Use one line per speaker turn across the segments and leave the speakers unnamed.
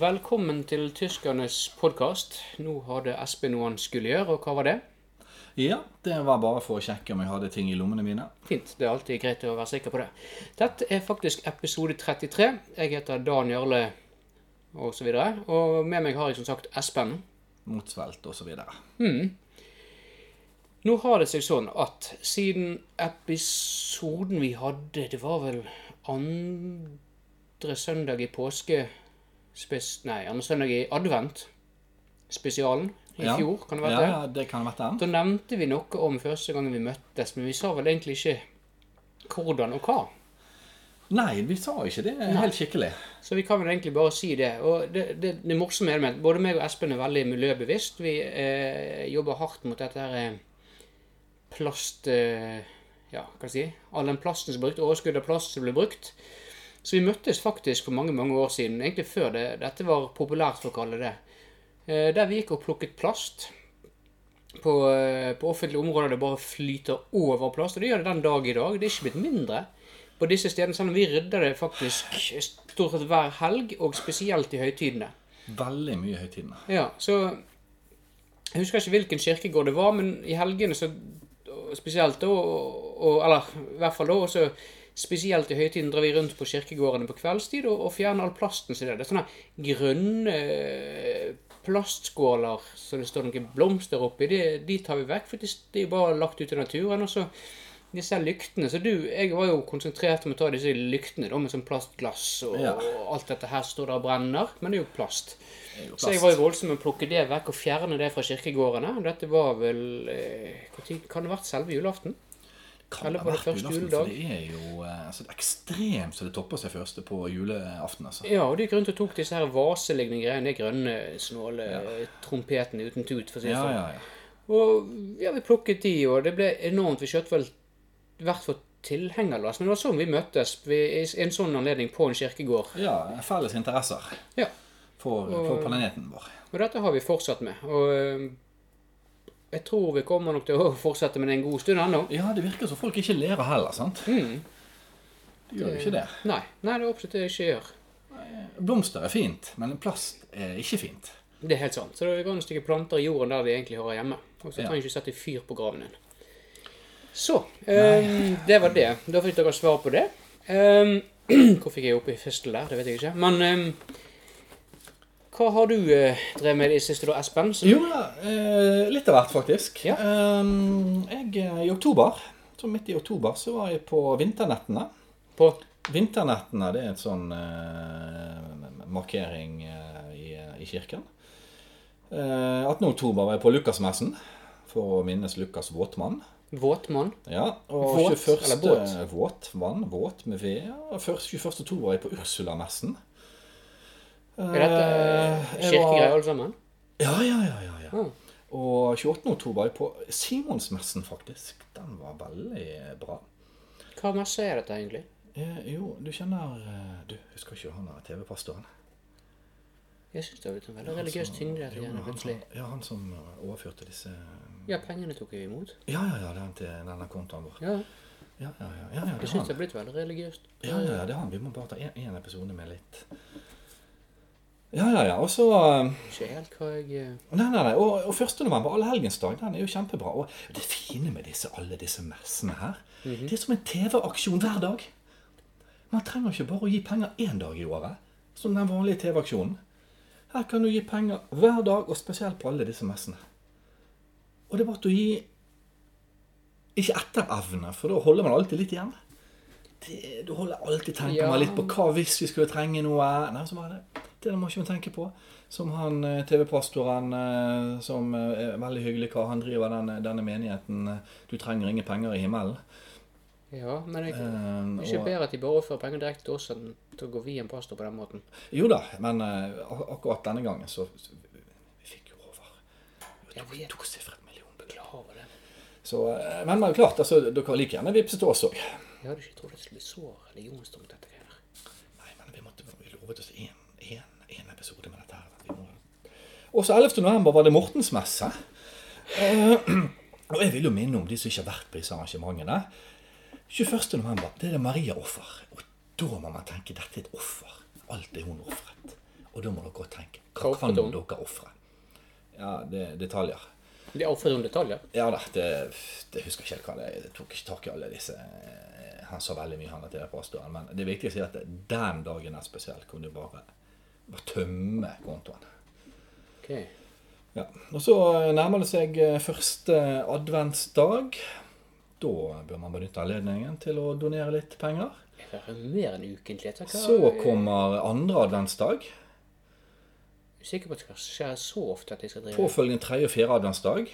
Velkommen til tyskernes podkast. Nå hadde Espen noe han skulle gjøre, og hva var det?
Ja, det var bare for å sjekke om jeg hadde ting i lommene mine.
Fint, det er alltid greit å være sikker på det. Dette er faktisk episode 33. Jeg heter Dan Jarle og så videre. Og med meg har jeg som sagt Espen.
Motsvelt og så videre.
Nå har det seg sånn at siden episoden vi hadde, det var vel andre søndag i påske spes, Nei, andre søndag i advent spesialen i
Ja.
fjor, kan det
Ja,
være det?
ja, det kan ha vært den.
Da nevnte vi noe om første gangen vi møttes, men vi sa vel egentlig ikke hvordan og hva.
Nei, vi sa ikke det helt skikkelig.
Så vi kan vel egentlig bare si det. Og det, det, det morsomme er det med at både meg og Espen er veldig miljøbevisst. Vi eh, jobber hardt mot dette her eh, plast... Eh, ja, hva skal jeg si? All den plasten som ble brukt, overskuddet av plast som ble brukt. Så vi møttes faktisk for mange, mange år siden, egentlig før det, dette var populært for å kalle det. Eh, der vi gikk og plukket plast på, eh, på offentlige områder det bare flyter over plast, og det gjør det den dag i dag. Det er ikke blitt mindre på disse stedene, selv om vi rydder det faktisk stort sett hver helg, og spesielt i høytidene.
Veldig mye i høytidene.
Ja, så Jeg husker ikke hvilken kirkegård det var, men i helgene så og Spesielt da, og, og- eller i hvert fall da, og så spesielt i høytiden drar vi rundt på kirkegårdene på kveldstid og, og fjerner all plasten som er der. Det er sånne grønne eh, plastskåler så det står noen blomster oppi. De, de tar vi vekk, for de, de er bare lagt ut i naturen. og så disse her lyktene, så du, Jeg var jo konsentrert om å ta disse lyktene da, med sånn plastglass og,
Ja.
og alt dette her som står der og brenner, men det er jo plast.
Det er jo
Så jeg
plast.
var jo voldsom med å plukke det vekk og fjerne det fra kirkegårdene. Dette var vel eh, hvor tid, Kan det ha vært selve julaften?
Kan
Eller
det
var
ha
det
vært
første
julaften?
juledag?
For det er jo eh, altså, det er ekstremt så det topper seg første på julaften, altså.
Ja, og de gikk rundt og tok disse her vaselignende greiene. De grønne, snåle trompetene uten tut, for å si det
Ja,
sånn.
ja, ja.
Og ja, vi plukket de, og det ble enormt. Vi kjørte vel hvert vårt tilhengerlass. Men det var sånn vi møttes ved en sånn anledning på en kirkegård.
ja felles interesser
Ja,
for, for planeten vår.
Og dette har vi fortsatt med. Og eh, jeg tror vi kommer nok til å fortsette med det en god stund ennå.
Ja, det virker som folk ikke lærer heller, sant? De gjør jo ikke det.
Nei, nei, Mm. det er absolutt det jeg ikke gjør.
Blomster er fint, men plast er ikke fint.
Det er helt sant. Så det går noen stykker planter i jorden der de egentlig hører hjemme. Og så trenger du ikke sette fyr på graven din. Så. ehm, det var det. Da fikk dere svar på det. Ehm, hvor fikk jeg opp i fistel der? Det vet jeg ikke. Men ehm, hva har du eh, drevet med i det siste, da, Espen? Så,
Jo, ja, eh, litt av hvert, faktisk.
Ja.
Ehm, jeg, eh, I oktober, så midt i oktober, så var jeg på Vinternettene.
på
Vinternettene det er et sånn eh, markering eh, i, i kirken. Eh, 18. oktober var jeg på Lukasmessen for å minnes Lukas Våtmann.
Våtmann?
Ja, og
Våt,
21.
eller båt?
Våt, vann, våt med V. Og først- 21. oktober var jeg på Ursulamessen.
Er dette eh,
Eh, jeg
kirkegreier,
var-
alle sammen?
Ja, ja, ja. ja, ja.
Ah.
Og 28. oktober er jeg på Simonsmessen, faktisk. Den var veldig bra.
Hva messe er dette, egentlig?
Eh, jo, du kjenner eh, Du husker ikke han der TV-pastoren?
Jeg syns det har blitt en veldig religiøs tyngde i dette
altså, Jo,
greiene
altså- han,
plutselig.
som- ja, han som eh, overførte disse
Ja, pengene tok jeg imot.
Ja, ja, ja, den til denne kontoen vår.
Ja,
Ja, ja, ja. ja, ja
jeg
det er
syns
han.
det har blitt veldig religiøst.
Ja, ja, ja, det er han. Vi må bare ta én episode med litt Ja, ja, ja. Og så eh,
Ikke helt hva jeg eh,
Nei, nei, nei. Og, og 1. november, allehelgensdag, den er jo kjempebra. Og det fine med disse, alle disse messene her,
Mhm.
det er som en TV-aksjon hver dag. Man trenger ikke bare å gi penger én dag i året, som den vanlige TV-aksjonen. Her kan du gi penger hver dag, og spesielt på alle disse messene. Og det er bare at du gir ikke etter evne, for da holder man alltid litt igjen. Det, du holder alltid tenker
Ja.
man litt på hva hvis vi skulle trenge noe. Nei, så bare det. Det må ikke vi tenke på. Som han eh, TV-pastoren eh, som eh, er veldig hyggelig kar, han driver denne, denne menigheten eh, 'Du trenger ingen penger i himmelen'.
Ja, men jeg,
Eh,
Ikke
og-
bedre at de bare overfører penger direkte til oss enn til å gå via en pastor på den måten.
Jo da, men eh, ak- akkurat denne gangen så så- Vi fikk jo over
Jeg
to-
vet.
tosifret millionbeløp.
Klar over det.
Så, eh, Men men klart, altså, dere har like gjerne vippset oss òg.
Jeg hadde ikke trodd det skulle bli så religionstungt, dette greiet der.
Nei, men vi måtte vi lovet oss én episode med dette her. at Vi må... Og så 11. november var det Mortensmesse. Eh, og jeg vil jo minne om de som ikke har vært på disse arrangementene. 21. november, det er det Maria offer. Og da må man tenke dette er et offer. Alt det hun ofret. Og Og da må dere tenke. Hva
Hva
kan
offrer du?
dere ofre? Ja, det er detaljer.
Det er ofte noen detaljer.
Ja da, det, det husker jeg ikke helt hva det er. Jeg tok ikke tak i alle disse eh, Han sa veldig mye, han der TV-pastoren. Men det viktigste er at den dagen er spesiell. Kunne du bare, bare tømme kontoen.
Ok.
Ja. Og så nærmer det seg eh, første adventsdag. Da bør man benytte anledningen til å donere litt penger.
Det er mer enn ukentlig. Jeg tenker,
Så kommer andre adventsdag.
Jeg er sikker på at det skjer så ofte at jeg skal drive
Påfølgende tredje og fjerde adventsdag.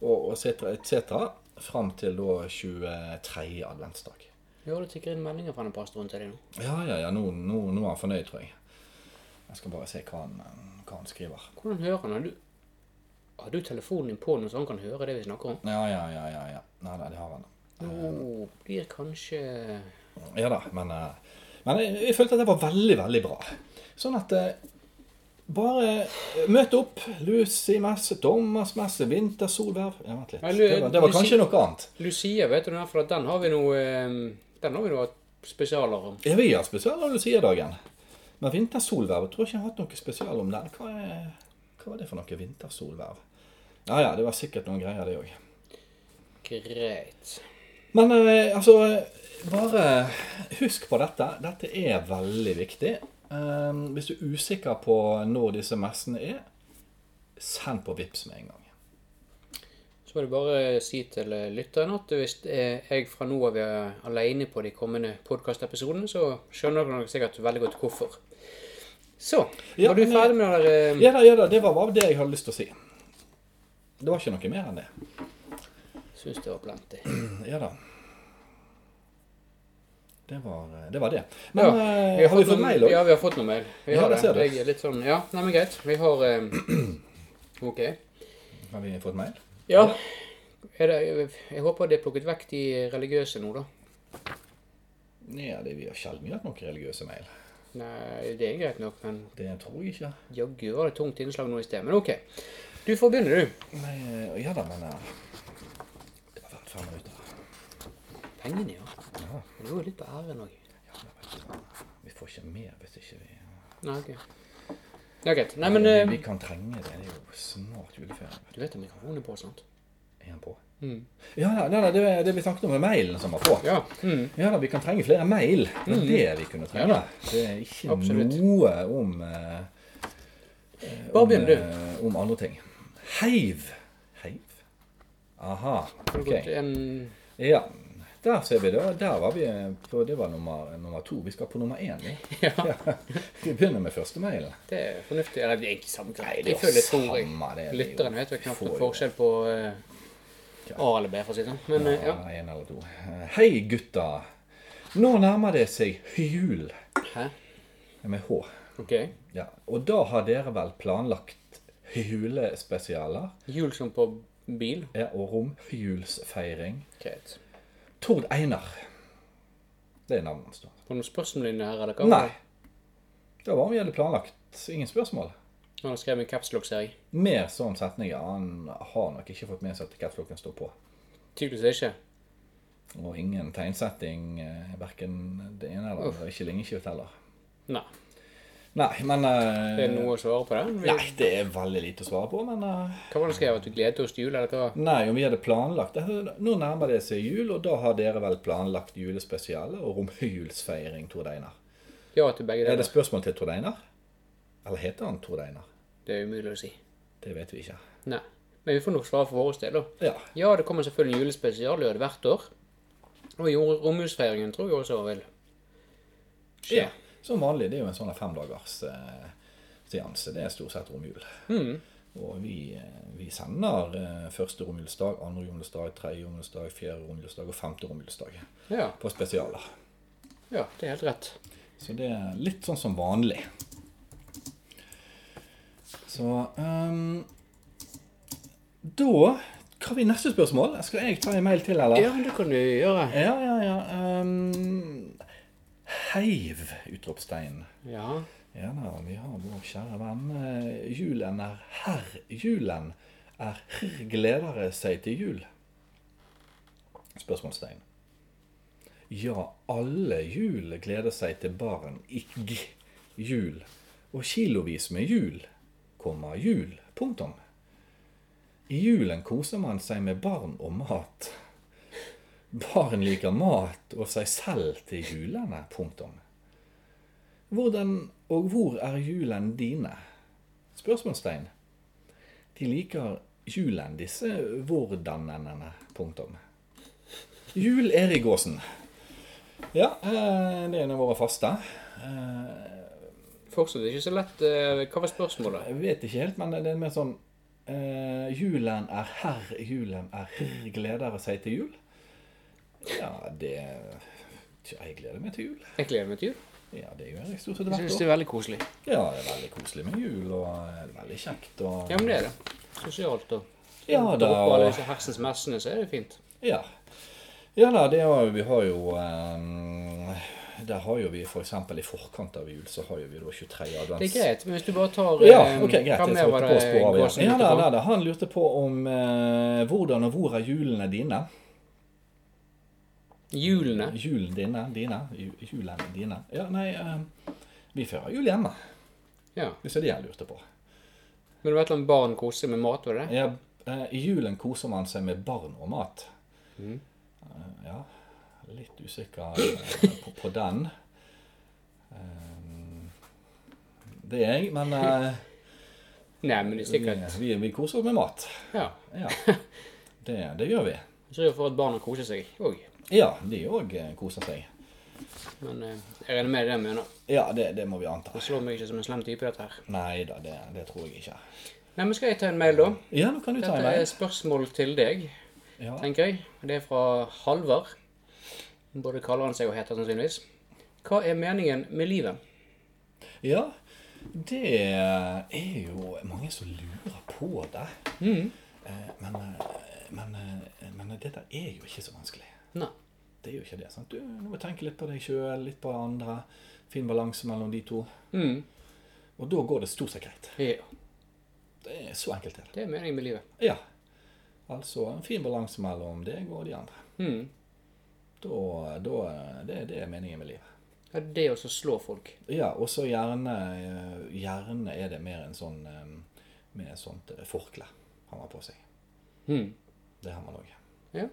Og og et cetera, et cetera. Fram til da 23. adventsdag.
Jo, det tikker inn meldinger fra den pastoren til deg nå.
Ja, ja, ja. Nå, nå, nå er han fornøyd, tror jeg. Jeg skal bare se hva han, eh, hva han skriver.
Hvordan hører han? Har du, har du telefonen din på nå, så han kan høre det vi snakker om?
Ja, ja, ja. ja, ja. Nei, nei, det har han.
Nå blir kanskje
Ja da, men, eh, men jeg, jeg følte at det var veldig, veldig bra. Sånn at eh, bare eh, møt opp. Lucy messe, Thomas messe, vintersolverv Ja, vent litt.
Ja, Lu-
Det var, det var
Lucy-
kanskje noe annet.
Lucia, vet du, den her, for at den har vi nå eh, Den har vi nå hatt spesialer om.
Ja, vi har spesial av Lucia-dagen. Men vintersolverv tror jeg ikke jeg har hatt noe spesial om den. Hva, er, hva var det for noe vintersolverv? Ja ja, det var sikkert noen greier, det òg.
Greit.
Men eh, altså, bare husk på dette. Dette er veldig viktig. Eh, hvis du er usikker på når disse messene er, send på Vips med en gang.
Så er det bare å si til eh, lytteren at hvis eh, jeg fra nå av er alene på de kommende podkastepisodene, så skjønner dere nok sikkert veldig godt hvorfor. Så,
Ja,
var du
men-
ferdig med det der? eh,
Ja da, ja da, det var bare det jeg hadde lyst til å si. Det var ikke noe mer enn det.
Syns det var plenty.
Ja da. Det var det. Var det. Men
Ja,
eh,
vi
har vi fått
noen-
mail òg?
Ja, vi har fått noe mail. Vi
Ja,
har
det ser
det.
du.
Jeg er litt sånn Ja, nei, men greit. Vi har eh, Ok.
Har vi fått mail?
Ja. Er det, jeg håper det er plukket vekk de religiøse nå, da.
Nei, det, vi har sjelden hatt noen religiøse mail.
Nei, det er greit nok, men
Det tror jeg ikke.
jaggu var det tungt innslag nå i sted. Men OK. Du får begynne, du.
Nei, eh, ja da, men eh, Det har vært fem minutter.
Pengene, ja. Men du er litt på æren òg.
Ja, men vet du hva, vi får ikke mer hvis ikke vi
Nei, OK. Ja, greit. Nei, men eh,
Vi kan trenge det. Det er jo snart juleferie. vet
Du vet at mikrofonen er på, sant?
du. Er han på? Ja, ja, nei, nei, det, er det vi snakket om med mailen som var på.
Mm. Ja. Mm.
Ja da, vi kan trenge flere mail. Det er det vi kunne trenge. Det er ikke
Absolutt.
noe om eh,
Bare begynn, du.
eh, om andre ting. Heiv. Heiv? Aha.
Har du
Ok.
gått en
Ja. Der ser vi det. Der var vi eh, på Det var nummer, nummer to. Vi skal på nummer én, vi.
Ja.
Vi begynner med første mail.
Det er fornuftig. Eller det er egentlig samme greie. Jeg
jo
føler tror jeg.
samme, det er det jo.
Lytteren vet jo knapt
Får jo
noen forskjell på eh,
Ja.
A eller B, for å si det sånn. Men eh, ja.
Ja, en eller to. Eh, Hei, gutta. Nå nærmer det seg jul
Hæ?
med H.
Ok.
Ja. Og da har dere vel planlagt julespesialer
Hjul som på bil.
ja, og romjulsfeiring?
Greit.
Tord Einar. Det er navnet hans. da.
Var det noen spørsmål inni her, eller hva?
Nei. Det var om vi hadde planlagt. Ingen spørsmål.
Han har skrevet en capslock, ser jeg.
Mer sånn setninger. Han har nok ikke fått med seg at catflocken står på.
Tydeligvis ikke.
Og ingen tegnsetting, eh, verken det ene eller det andre. Ikke linjeskift heller.
Nei.
Nei, men eh,
Det er noe å svare på det?
Nei, det er veldig lite å svare på, men eh,
Hva var det skrevet? At du gledet oss til jul, eller hva?
Nei, om vi hadde planlagt det Nå nærmer det seg jul, og da har dere vel planlagt julespesiale og romjulsfeiring, Tord Einar.
Ja til begge
Er det
deler.
spørsmål til Tord Einar? Eller heter han Tord Einar?
Det er umulig å si.
Det vet vi ikke.
Nei. Men vi får nok svare for våre del, da.
Ja.
Ja, det kommer selvfølgelig en julespesial det gjør det hvert år. Og i jord- romjulsfeiringen tror jeg også vil skje.
ja. Som vanlig. Det er jo en sånn femdagers eh, seanse. Det er stort sett romjul. Og vi, eh, vi sender eh, første romjulsdag, andre romjulsdag, tredje romjulsdag, fjerde romjulsdag og femte romjulsdag
Ja.
på spesialer.
ja, det er helt rett.
Så det er litt sånn som vanlig. Så ehm, Da Hva blir neste spørsmål? Skal jeg ta en mail til, eller?
Ja, det kan du gjøre.
ja, ja. ja, ehm, heiv! Utropstegn.
Ja.
Ja da, vi har vår kjære venn. eh, Julen er herr. Julen er herr. Gleder seg til jul? Spørsmålstegn. Ja, alle jul gleder seg til barn. Ikke jul. og kilovis med jul, komma jul, punktum. I julen koser man seg med barn og mat. Barn liker mat og seg selv til julene, punktum. Hvordan og hvor er julen dine? Spørsmålstegn. De liker julen, disse vårdanennene, punktum. Jul Erik Aasen. Ja, eh, det er en av våre faste.
Fortsatt ikke så lett. eh, Hva var spørsmålet?
Jeg vet ikke helt, men det er mer sånn eh, Julen er herr, julen er herr, gleder seg til jul. Ja, det Tja, Jeg gleder meg til jul.
Jeg gleder meg til jul.
Ja, det gjør jeg stort sett
Jeg
hvert
syns
år.
det er veldig koselig.
Ja, det er veldig koselig med jul, og eh, veldig kjekt, og
Ja, men det er det. Sosialt og
Ja da.
På alle
Og,
disse hersens messene, så er det fint.
ja. ja da, det er, jo- vi har jo eh, Der har jo vi for eksempel i forkant av jul, så har jo vi da 23
Det
advents...
er greit, men hvis du bare tar
Ja,
eh,
ok, greit. Jeg
hva mer
skal
var
ikke
det
på å spå av
Gåsen
igjen. Ja,
lurte
da,
på?
da, da. Han lurte på om eh, hvordan og hvor er julene dine?
Julene.
Julen dine? Dine? Ju- Julen dine? Ja, nei, eh, vi feirer jul hjemme.
Ja.
Hvis det er det han lurte på.
Men det var et eller annet barn koser med mat, var det det?
Ja, eh, I julen koser man seg med barn og mat.
Mhm.
Eh, ja, litt usikker eh, på, på den. Eh, det er jeg, men eh,
Nei, men det er
vi,
sikkert
vi, vi koser oss med mat.
Ja.
Ja, det, det gjør vi.
Jeg tror jeg får at barna koser seg òg.
Ja, de òg koser seg.
Men eh, jeg regner med det jeg mener.
Ja, det, det må vi anta.
Det slår meg ikke som en slem type, dette her.
Nei da, det, det tror jeg ikke.
Nei, men skal jeg ta en mail, da?
Ja, nå kan du ta en
Dette
vei.
er spørsmål til deg,
Ja.
tenker jeg. Det er fra Halvard. Både kaller han seg og heter sannsynligvis. Hva er meningen med livet?
ja, det er jo mange som lurer på det. Eh, Men, eh, men, eh, men dette er jo ikke så vanskelig.
Nei.
Det er jo ikke det. sant? Du du må tenke litt på deg sjøl, litt på andre. Fin balanse mellom de to.
Mm.
Og da går det stort sett greit.
Ja.
Det er så enkelt er det.
Det er meningen med livet.
Ja. Altså en fin balanse mellom deg og de andre.
Mm.
Da, da, det, det er meningen med livet.
Ja, det å så slå folk.
Ja, og så gjerne, eh, gjerne er det mer en sånn eh, med et sånt eh, forkle han har på seg.
Mm.
Det har man òg.
Ja.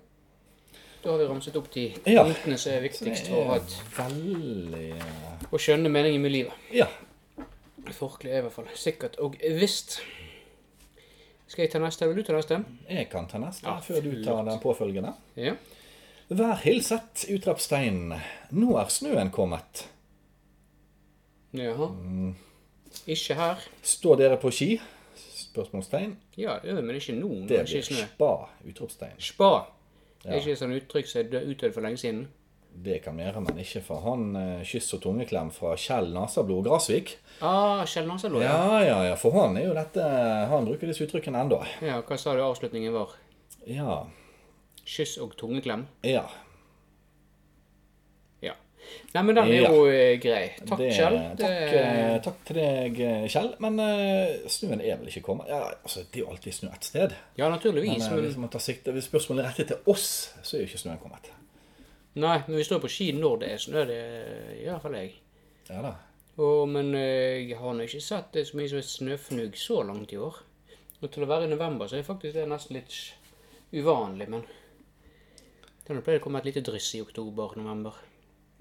Da har vi ramset opp de
Ja.
punktene som er viktigst for å ha et
veldig eh,
Å skjønne meningen med livet.
Ja.
Forkle er i hvert fall sikkert og visst. Skal jeg ta neste? Vil du ta neste?
Jeg kan ta neste
Ja,
før du tar den påfølgende.
Ja.
Vær hilset, utropstegn. Nå er snøen kommet.
Jaha. Ikke her.
Står dere på ski? Spørsmålstegn.
Ja, det gjør vi, men ikke nå. når
Det
Det er
blir
ikke snø.
spa. Utropstegn.
Spa. Det er ikke et sånt uttrykk som er dø- utdødd for lenge siden.
Det kan være, men ikke for han eh, kyss og tungeklem fra Kjell Nasablod Grasvik.
Ah, Kjell Nasalo, ja.
Ja, ja, ja, for han er jo dette Han bruker disse uttrykkene ennå.
ja. Hva sa du avslutningen var?
Ja.
Kyss og tungeklem?
Ja.
Ja. Nei, men den er
Ja.
jo eh, grei. Takk,
det-
Kjell.
Takk, eh, takk til deg, eh, Kjell. Men eh, snøen er vel ikke kommet? Ja, altså, det er jo alltid snø et sted.
Ja, naturligvis,
Men eh,
men
hvis, man tar sikte, hvis spørsmålet er rettet til oss, så er jo ikke snøen kommet.
Nei, men vi står på ski når det er snø. Det gjør i hvert fall jeg.
Ja da.
Å, men eh, jeg har nå ikke sett det så mye som et snøfnugg så langt i år. Og til å være i november så er faktisk det nesten litt sj- uvanlig, men Det pleier å komme et lite dryss i oktober-november.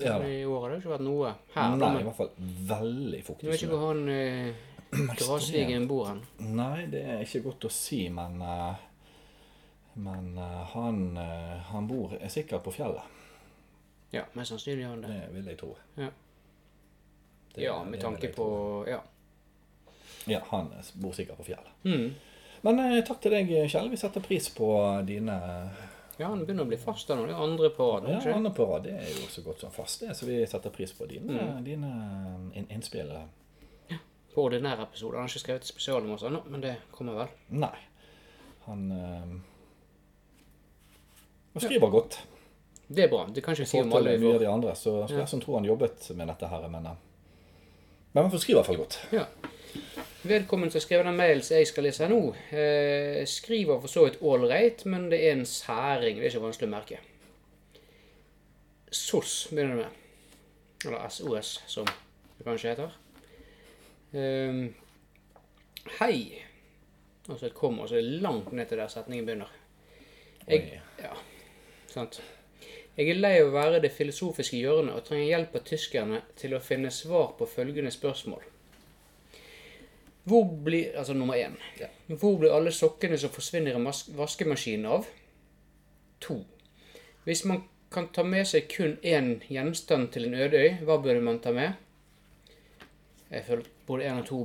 Ja, da.
I år har det ikke vært noe her. da,
Nei, i
men
hvert fall veldig
jeg
fuktig
vet ikke
snø.
hvor han eh, grasvigen bor hen.
Nei, det er ikke godt å si, men eh, Men eh, han, eh, han bor er sikkert på fjellet.
Ja, mest sannsynlig gjør han det.
Det vil jeg tro.
Ja.
Det-
ja,
det
med
vil
tanke
jeg
på
tro.
Ja.
Ja, han eh, bor sikkert på fjellet.
Mm.
Men eh, takk til deg, Kjell. Vi setter pris på dine
ja, han begynner å bli fast der nå. Det er andre på rad.
ja,
ikke sant?
andre på rad. Det er jo så godt som fast, det. Så vi setter pris på dine, dine mm, inn- innspill.
På ordinære episoder. Han har ikke skrevet spesial om oss ennå, men det kommer vel.
Nei. Han eh, Han skriver godt.
Det er bra. Det kan ikke si om
Forhold
alle.
til mye av
For...
de andre. Så skulle jeg som tror han jobbet med dette her, men eh, Men han skriver i hvert fall godt.
Ja. Vedkommende som skrev den mailen som jeg skal lese her nå, eh, skriver for så vidt ålreit, men det er en særing. Det er ikke vanskelig å merke. SOS begynner det med. Eller SOS, som det kanskje heter. Ehm, hei. Og så et kom, og så er det langt ned til der setningen begynner. Jeg, ja, sant. Jeg er lei av å være det filosofiske hjørnet og trenger hjelp av tyskerne til å finne svar på følgende spørsmål. Hvor blir, altså nummer én, hvor blir alle sokkene som forsvinner i mas- vaskemaskinen av? To. Hvis man kan ta med seg kun én gjenstand til en øde øy, hva burde man ta med? Jeg føler at både én og to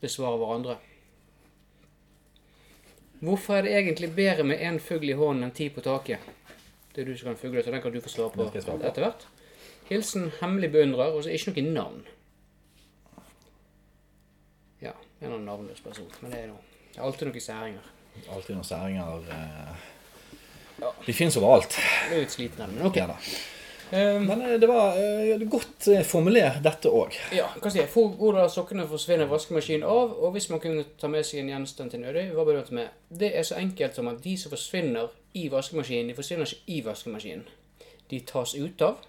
besvarer hverandre. Hvorfor er det egentlig bedre med én fugl i hånden enn ti på taket? Det er du som kan fugle, så den kan du få svare på
Den skal jeg svare på.
etter hvert. Hilsen hemmelig beundrer, og så ikke noe navn. Ja, en eller annen navnløs person. Men det er noe. Det er alltid noen særinger.
Alltid noen særinger eh. De fins overalt.
Jeg ble litt sliten av det, men ok.
Ja da.
Ehm,
Men eh, det var eh, godt eh, formulert, dette òg.
Ja, hva sier jeg? For hvor da sokkene forsvinner vaskemaskinen av, og hvis man kunne ta med seg en gjenstand til Nødøy, hva bør man ta med? Det er så enkelt som at de som forsvinner i vaskemaskinen, de forsvinner ikke i vaskemaskinen. De tas ut av,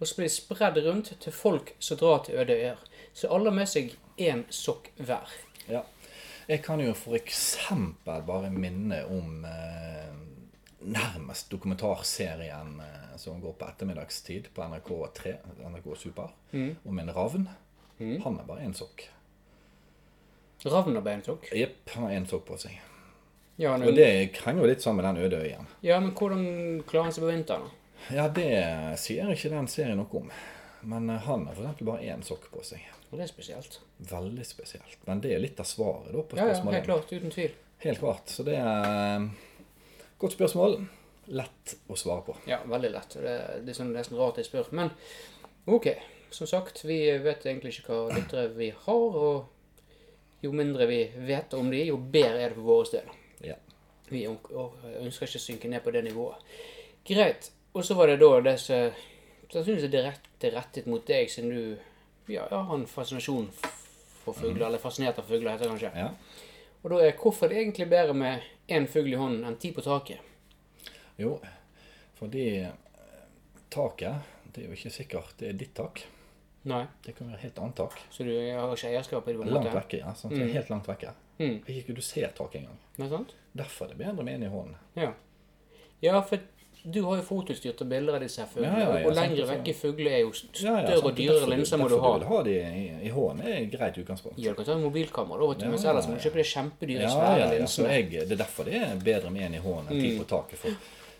og så blir de spredd rundt til folk som drar til Ødøyer. Så alle har med seg én sokk hver.
Ja. Jeg kan jo for eksempel bare minne om eh, nærmest dokumentarserien eh, som går på ettermiddagstid på NRK3, NRK Super,
Mm.
om en ravn. Han har bare én ssokk.
Ravnerbeinsokk.
Jepp, han har én sokk på seg.
Ja,
Og
men,
det henger jo litt sammen med den øde øyen.
ja, men hvordan klarer han seg på vinteren? da?
Ja, det eh, sier ikke den serien noe om. Men eh, han har for eksempel bare én sokk på seg.
Og det er spesielt.
Veldig spesielt. Men det er litt av svaret da på
Ja, ja,
spørsmålet.
helt klart. Uten tvil.
Helt klart. Så det er eh, godt spørsmål. Lett å svare på.
Ja, veldig lett. Det, det er sånn nesten rart jeg spør. Men ok, som sagt, vi vet egentlig ikke hva lyttere vi har, og jo mindre vi vet om de, jo bedre er det for vår del.
Ja.
Vi ønsker ikke å synke ned på det nivået. Greit. Og så var det da det som sannsynligvis er direkte rettet mot deg, siden du ja, ja, har en fascinasjon f- for fugler, eller fascinert av fugler, heter det kanskje.
ja.
Og da er hvorfor det egentlig bedre med én fugl i hånden enn ti på taket?
Jo, fordi eh, taket Det er jo ikke sikkert det er ditt tak.
Nei,
Det kan være helt annet tak.
så du har ikke eierskap i det på en
Langt
måte?
vekke. ja. Sant? Det er Helt langt vekke.
Mm.
Ikke ikke du ser taket engang.
Ikke sant?
Derfor er det bedre med en i hånden.
Ja. ja, for du har jo fotostyrt og bilder av disse her fuglene.
Ja, ja, ja,
og
sant,
lengre
så-
vekk i fugler er jo st- større
sant?
og dyrere
Derfor du-
linser må du
derfor
ha.
vil ha de i, i hånden er et greit utgangspunkt.
Ja, du kan ta en mobilkamera, da, vet du,
Ja,
mens
ja,
ellers må du
ja.
kjøpe de kjempedyre,
Ja,
svære Mm.
ja, ja. Så
linsene.
jeg, det er derfor det er bedre med en i hånden enn ti på taket. For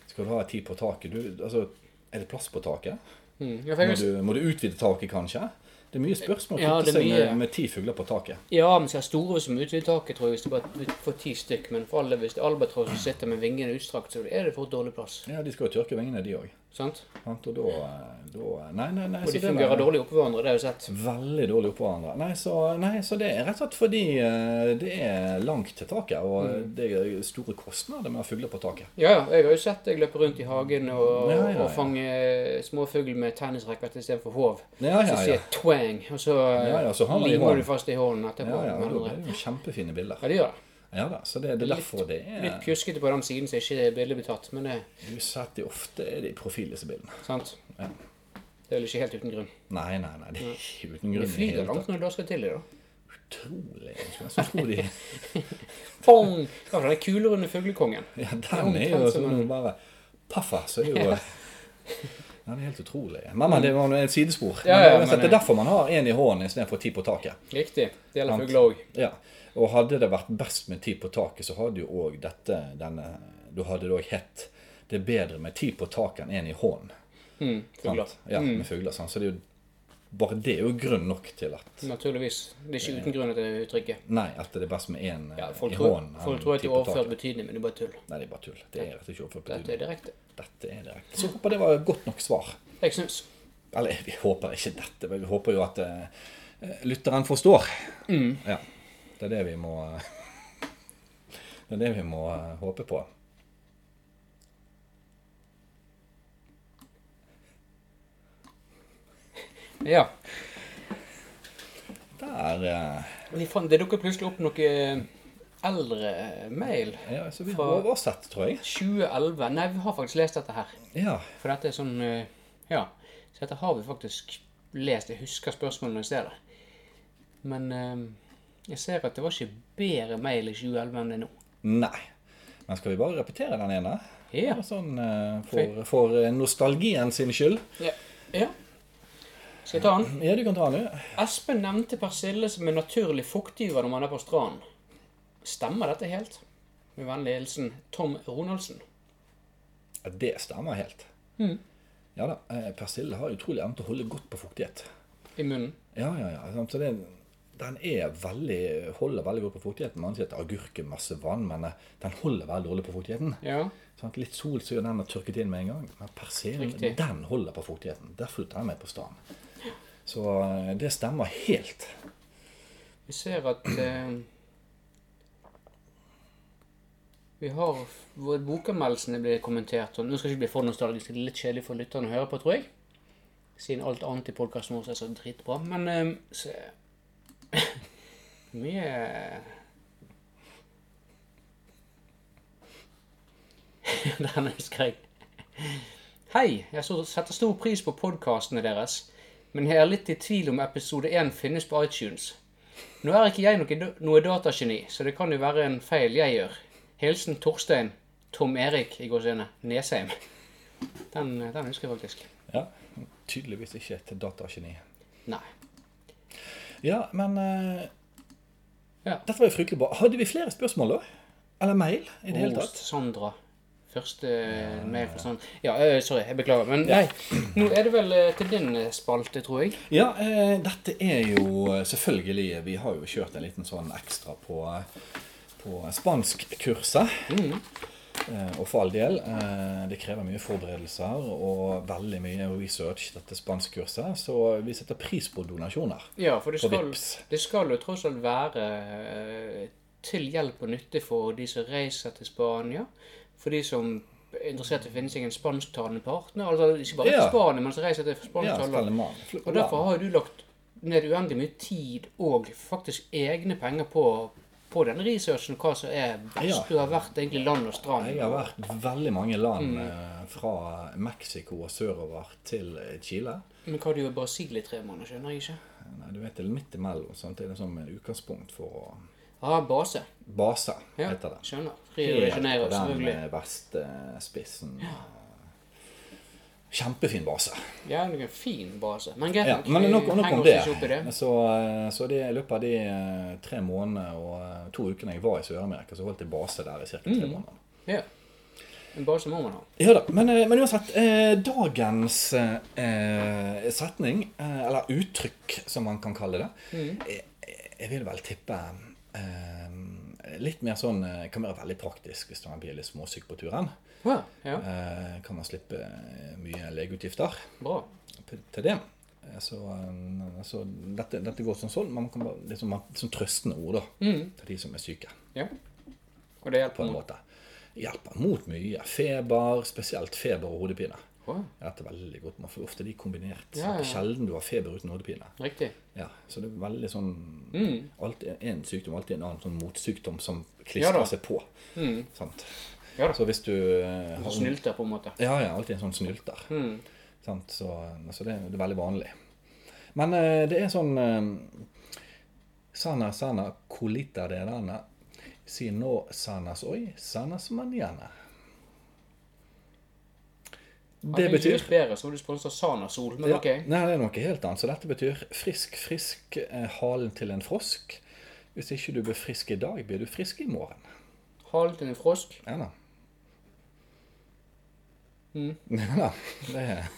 skal du ha ti på taket du, altså, Er det plass på taket?
Mm. Ja, for jeg,
Må
har
du, må du utvide taket, kanskje? Det er mye spørsmål å
Ja,
kvitte
det er
seg
mye.
med, med ti fugler på taket.
lyst- ja, men så er store som utvider taket, tror jeg, hvis du bare får ti stykk. Men for alle, hvis det er albatross som sitter med vingene utstrakt, så er det for dårlig plass.
Ja, De skal jo tørke vingene, de òg.
Sant?
Og da, da Nei, nei, nei.
Og
så
de
det er
fungerer dårlig oppå hverandre, det har jeg sett.
Veldig dårlig oppå hverandre. Nei så, nei, så det er rett og slett fordi eh, det er langt til taket, og
Mm.
det er store kostnader med å ha fugler på taket.
Ja, ja, jeg har jo sett deg løpe rundt i hagen og,
Ja, ja, ja.
og fange småfugl med tennisracket istedenfor hov.
Ja,
Så
ja, ja.
sier jeg twang, og så, eh,
Ja, ja, så har man det i
limer
hånden.
du fast i hånden etterpå.
Ja, ja,
med
og da
andre.
er det jo kjempefine bilder.
ja, det gjør det.
Ja da, så det, det er derfor det er
Litt pjuskete på den siden som ikke er billig betatt, men det er
Du setter jo ofte er det i profil, disse bildene.
sant.
Ja.
Det er vel ikke helt uten grunn.
Nei, nei, nei, det er ikke uten grunn. i
Det
det
flyr
hele
langt
tatt.
når du da skal til det, da.
Utrolig. Jeg skulle nesten tro de
Pong! Ja, for den kulerunde fuglekongen.
Ja, den er jo
omtrent som
sånn
en-
bare Paffa, så er jo Den er helt utrolig. Men, men det var nå et sidespor.
Mm. Ja,
Men
ja,
uansett,
men-
det er derfor man har én i hånden istedenfor ti på taket.
Riktig. Det
Sant.
gjelder fugler òg.
Ja. Og hadde det vært best med ti på taket, så hadde jo òg dette denne Da hadde det òg hett Det er bedre med ti på taket enn én i hånden.
Mm, fugler.
Sant? Ja, med fugler. Sant? Så det er jo bare det er jo grunn nok til at
Naturligvis. Det er ikke uten grunn at det er uttrykket.
Nei, at det er best med én
Ja,
eh,
folk
i
tror,
hånden
folk tror at
ti
det er
på taket.
overført betydning, men det er bare tull.
Nei, det er bare tull. Det er rett og slett ikke overført
Dette
betydning.
er direkte.
Dette er direkte. Så jeg håper det var et godt nok svar.
Jeg syns
Eller vi håper ikke dette, men vi håper jo at eh, lytteren forstår.
Mm.
Ja. Det er det vi må Det er det vi må eh, håpe på.
Ja.
Der eh,
Vi fant, det dukket plutselig opp noe eh, eldre mail.
ja, Så vi
Fra-
har oversett, tror jeg.
2011. Nei, vi har faktisk lest dette her.
Ja.
For dette er sånn eh, Ja. Så dette har vi faktisk lest. Jeg husker spørsmålene i stedet. Men eh, jeg ser at det var ikke bedre mail i 2011 enn det er nå.
Nei. Men skal vi bare repetere den ene?
Ja.
Sånn eh, for, for nostalgien sin skyld.
ja. ja. Skal jeg ta den?
Ja, du kan ta den, du.
Espen nevnte persille som en naturlig fuktgiver når man er på stranden. Stemmer dette helt? Med vennlig hilsen Tom Ronaldsen.
Ja, det stemmer helt.
Mm.
Ja da. eh, Persille har utrolig evne til å holde godt på fuktighet.
I munnen.
Ja, ja, ja. sant, Så det, den er veldig, holder veldig godt på fuktigheten. Man sier at agurk er masse vann, men eh, den holder veldig dårlig på fuktigheten.
Ja.
Sant, litt sol så gjør den har tørket inn med en gang. Men persillen
Riktig.
den holder på fuktigheten. Derfor tar jeg med på stranden. Så eh, det stemmer helt.
Vi ser at eh, Vi har hvor Bokanmeldelsene blir kommentert. og Nå skal jeg ikke bli for nostalgisk. Det er litt kjedelig for lytterne å høre på, tror jeg. Siden alt annet i podkasten vår er så dritbra. Men eh, se Mye Den husker jeg. Hei, jeg så- setter stor pris på podkastene deres, men jeg er litt i tvil om episode 1 finnes på iTunes. Nå er ikke jeg noe, noe datageni, så det kan jo være en feil jeg gjør. Hilsen Torstein Tom Erik i gåsehudene Nesheim. Den, den husker jeg faktisk.
Ja, Tydeligvis ikke et datageni.
Nei.
Ja, men eh,
Ja.
Dette var jo fryktelig bra. Hadde vi flere spørsmål, da? Eller mail? i det hele
Prost,
tatt?
Sandra. Første mail fra Sandra. Ja, øh, sorry, jeg beklager. Men nei, nå er det vel øh, til din øh, spalte, tror jeg.
Ja, eh, dette er jo eh, selvfølgelig Vi har jo kjørt en liten sånn ekstra på, på spanskkurset.
Mm.
Eh, og for all del, eh, det krever mye forberedelser og veldig mye research, dette spanskkurset. Så vi setter pris på donasjoner.
Ja, for det
På
skal,
Vipps.
det skal jo tross alt være eh, til hjelp og nytte for de som reiser til Spania. For de som er interessert i å finne seg en spansktalende partner. Altså ikke bare
Ja.
til Spania, men som reiser til
Ja,
spansktalende
Spellemann.
Og derfor har jo du lagt ned uendelig mye tid og faktisk egne penger på, på denne researchen, hva som er best.
Ja.
Du har vært egentlig land og strand.
Jeg har vært veldig mange
Mm.
land, eh, fra Mexico og sørover til eh, Chile.
Men hva du gjør i Brasil i tre måneder, skjønner jeg ikke.
Nei, du vet, det er midt imellom. Sant? Det er liksom et utgangspunkt for å
Ja, base.
Base,
Ja,
heter det.
skjønner. Rio de Janeiro,
Helt på den
selvfølgelig.
eh, verste spissen. Eh, Kjempefin base.
Ja, det er en fin base. Men greit
Ja,
nok,
men
vi
nok, nok
henger
om
oss
det.
ikke opp i det.
Så, eh, så det, i løpet av de eh, tre månedene og eh, to ukene jeg var i Sør-Amerika, så holdt jeg base der i ca. tre
Mm.
måneder.
Ja. En base må man ha.
Ja da, men, eh, men uansett. Eh, dagens eh, setning, eh, eller uttrykk som man kan kalle det,
Mm.
jeg, jeg vil vel tippe eh, litt mer sånn eh, Kan være veldig praktisk hvis man blir litt småsyk på turen.
Ja, ja.
Eh, kan man slippe eh, mye legeutgifter
bra.
p- til det. Eh, Så, eh, så dette, dette går som sånn. Man kan bare, liksom, man, sånn trøstende ord da,
Mm.
til de som er syke,
Ja. Og det
på
hjelper
en
mot.
måte. Hjelper mot mye. Feber, spesielt feber og hodepine.
Å,
Dette er veldig godt. Man får ofte de kombinert.
Ja, ja,
Det er
ja.
sjelden du har feber uten hodepine.
Riktig.
Ja, så det er veldig sånn
Mm.
alt er En sykdom, alltid en annen sånn motsykdom som
Ja
klistrer
da. Mm.
seg på. Sant?
Ja da.
Så hvis du eh,
Så
har
Snylter, på en måte.
Ja, ja, alltid en sånn snylter.
Mm.
Sant? Så, eh, så det, er- det er veldig vanlig. Men eh, det er sånn eh, Sana, sana, colita de rana. Si no sanas oi, sanas manjana. Det
Hadde
betyr
ikke bedre, så var du sponset av Sana Sol, men
ja,
ok.
Nei, det er noe helt annet. Så dette betyr frisk, frisk eh, halen til en frosk. Hvis ikke du blir frisk i dag, blir du frisk i morgen.
Halen til en frosk.
Ja da.
Mm.
Ja da. Det er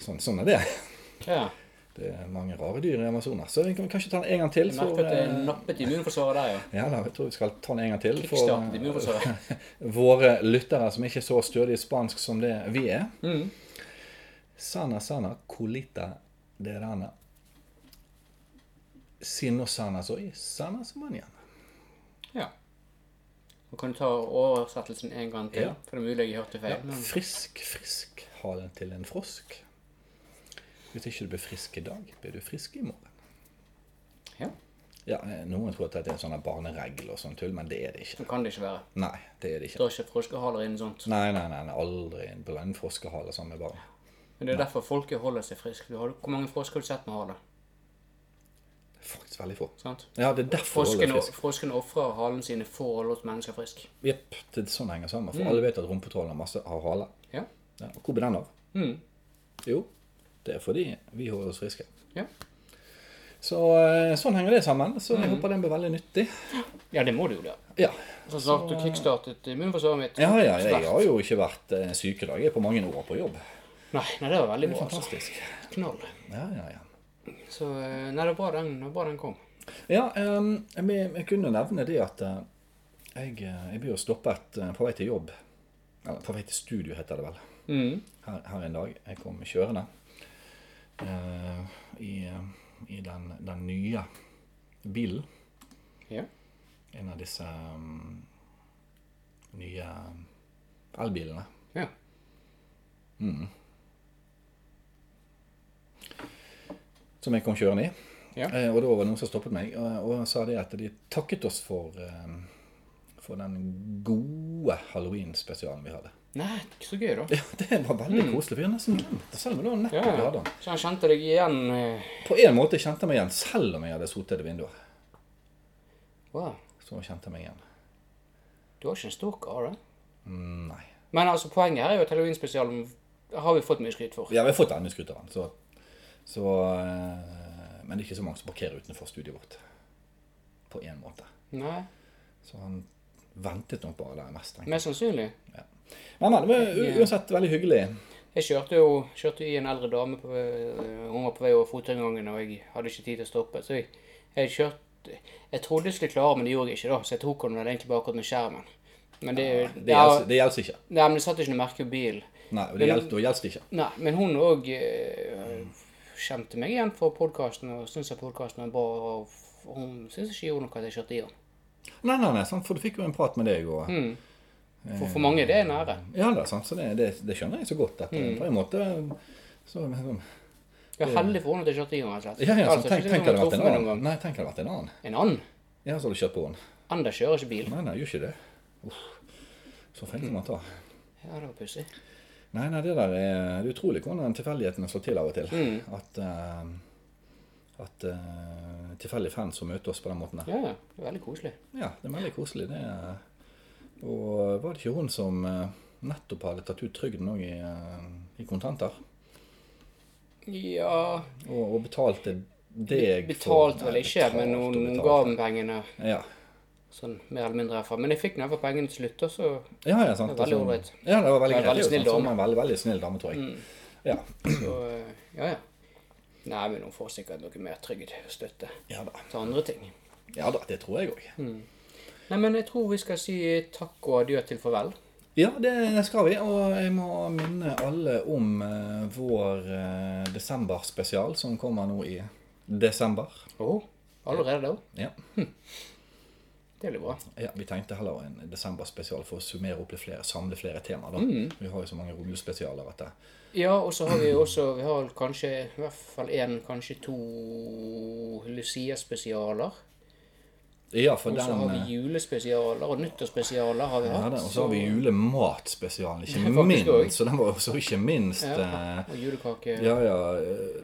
sånn, sånn er det.
Ja.
Det er mange rare dyr i Amazonas. Så vi kan kanskje ta den en gang til.
Jeg
For,
merker at det er
eh,
nappet immunforsvaret der, ja.
ja da, jeg tror vi skal ta den en gang til. For
Kickstartet immunforsvaret.
eh, våre lyttere som ikke er så stødige i spansk som det vi er.
Mm.
Sana sana colita de rana. Si no sana soy, sana som manjana.
Ja. Og kan du ta oversettelsen en gang til?
Ja.
For det er mulig jeg hørte feil. men-
Frisk, frisk halen til en frosk. Hvis ikke du blir frisk i dag, blir du frisk i morgen.
Ja.
Ja, eh, Noen tror at det er en sånn barneregel og sånn tull, men det er det ikke.
Så kan det ikke være.
Nei, det er det ikke.
Da er ikke froskehaler inne sånt.
Nei, nei, nei, nei aldri blande froskehale sammen med barn.
Men det er derfor folket holder seg frisk. Du har, hvor mange frosker har du sett med hale?
faktisk veldig få.
sant?
Ja, det er derfor
Frosken,
ål er frisk.
frosken ofrer halen sine for å holde oss mennesker friske.
Jepp, det er sånn det henger sammen. For alle vet at rumpetrålen har masse har hale.
Ja.
Ja, og hvor blir den av? Jo, det er fordi vi holder oss friske.
ja.
Så eh, sånn henger det sammen. Så jeg håper den blir veldig nyttig.
Ja, det må du jo da.
Ja,
Som sagt, du kickstartet immunforsvaret mitt.
ja, ja jeg
Sterkt.
har jo ikke vært eh, sykedag jeg er på mange år på jobb.
Nei, nei, det var veldig bra. Altså.
Fantastisk.
Knall.
Ja, ja, ja.
Så eh, Nei, det var bra den, det var bra den kom.
Ja, ehm, jeg, jeg kunne nevne det at eh, jeg, eh, jeg blir jo stoppet eh, på vei til jobb. Eller på vei til studio, heter det vel.
Mm.
Her, her en dag. Jeg kom kjørende eh, i, i den, den nye bilen.
Ja.
En av disse mm, nye elbilene.
ja.
som jeg kom kjørende i.
Ja.
Eh, og da var det noen som stoppet meg og, og sa det at de takket oss for, eh, for den gode halloween-spesialen vi hadde.
Nei, så gøy, da.
Ja, Det var veldig
Mm.
koselig. for Vi har nesten glemt det, selv om det var nettopp vi hadde den.
Så han kjente deg igjen. eh,
På en måte kjente jeg meg igjen, selv om jeg hadde sotet i vinduer.
Wow.
Så kjente jeg meg igjen.
Du har ikke en stor kar, da.
Mm, Nei.
Men altså, poenget her er jo at halloween-spesialen har vi fått mye skryt for.
Ja, vi har fått denne skuteren, så, så eh, Men det er ikke så mange som parkerer utenfor studiet vårt. På en måte.
Nei,
Så han ventet nok bare der mest. tenker jeg.
mest sannsynlig.
Men, men det var u- uansett veldig hyggelig.
Jeg kjørte jo kjørte i en eldre dame på, eh, Hun var på vei over fotgjengerangen, og jeg hadde ikke tid til å stoppe. Så jeg, jeg kjørte Jeg trodde jeg skulle klare, men det gjorde jeg ikke, da. Så jeg tok henne vel egentlig bare akkurat med skjermen. Men det, ja,
Det altså- gjelder, det gjelder ikke.
Nei, men det satt ikke noe merke på bilen.
Nei, og det gjelder, da gjelder det ikke.
Nei, men hun òg kjente meg igjen fra podkasten og syntes at podkasten var bra. Og f- hun syntes ikke gjorde noe at jeg kjørte i den.
Nei, nei, nei, sant, for du fikk jo en prat med deg og
Mm. For for mange det er nære.
Ja da, sant, så det, det, det skjønner jeg så godt. At
Mm.
eh, på en måte så,
Jeg er heldig for henne at jeg kjørte i den, rett og slett.
Ja, ja, så
Altså,
tenk,
ikke som
tenk hadde det vært en
truffet meg noen
annen. Nei, tenk hadde det vært en annen.
gang. En annen?
Ja, så hadde du kjørt på den.
Anders kjører ikke bil.
Nei, nei, gjør ikke det. Uff, så feil
Mm.
kan man ta.
Ja, det var pussig.
Nei, nei, det der er, det er utrolig hvordan tilfeldighetene slår til av og til.
Mm.
At, eh, at eh, tilfeldige fans som møter oss på den måten der.
Ja, ja. Det er veldig koselig.
Ja, det er veldig koselig. Det er, og var det ikke hun som eh, nettopp hadde tatt ut trygden òg i, eh, i kontanter?
Ja
Og, og betalte deg
Betalte vel
Nei,
ikke,
betalt
men
og
noen, noen
betalt.
ga meg pengene
Ja.
sånn mer eller mindre herfra. Men jeg fikk nå i hvert fall pengene til slutt, og så
ja, ja, sant.
Det var veldig
Og så-
ålreit.
Ja, det var veldig
Det var veldig
greit. Det var
snill
sånn som
dame. Mm.
en veldig, veldig snill dame, tror jeg. Ja.
så eh, Ja, ja. Nei, men hun får sikkert noe mer trygghet og støtte
Ja, da.
til andre ting.
ja da, det tror jeg òg.
Mm. Nei, men jeg tror vi skal si takk og adjø til farvel.
Ja, det skal vi. Og jeg må minne alle om eh, vår eh, desemberspesial som kommer nå i desember.
Åh, allerede da?
Ja.
Det blir bra.
Ja, Vi tenkte heller en desemberspesial for å summere opp litt flere, samle flere temaer. da.
Mm.
Vi har jo så mange julespesialer at det
Ja, og så har vi jo også Vi har kanskje i hvert fall én, kanskje to Lucia-spesialer.
Ja, for
Og så har
den eh,
vi julespesialer og nyttårsspesialer har vi
ja,
hatt.
den, Og så har vi julematspesialen, ikke
Faktisk også.
minst. Så den var jo også ikke minst
Ja,
eh,
og julekake.
Ja, ja eh,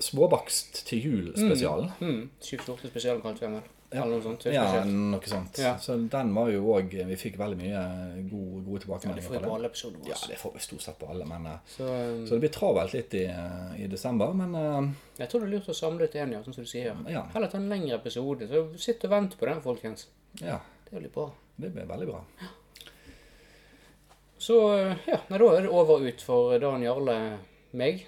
Småbakst til jul-spesialen.
Mm, 714 spesialen kalte vi den vel. Eller noe sånt.
Ja,
spesielt.
noe sånt.
Ja.
Så den var jo òg Vi fikk veldig mye gode, gode
Det
tilbakemeldinger
får vi
på
på
den.
alle episoder våre.
Ja, det får vi stort sett på alle, men eh,
Så eh,
Så det blir travelt litt i, eh, i desember, men eh,
jeg tror det er lurt å samle til én, ja, sånn som du sier.
Ja.
Heller ta en lengre episode. Så sitt og vent på den, folkens.
ja.
Det blir bra.
Det blir veldig bra.
Så eh, ja, nei, da er det over og ut for Dan Jarle meg.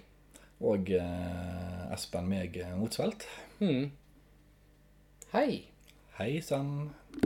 Og eh, Espen meg eh, Motsvelt.
Mm. Hei.
Hei sann.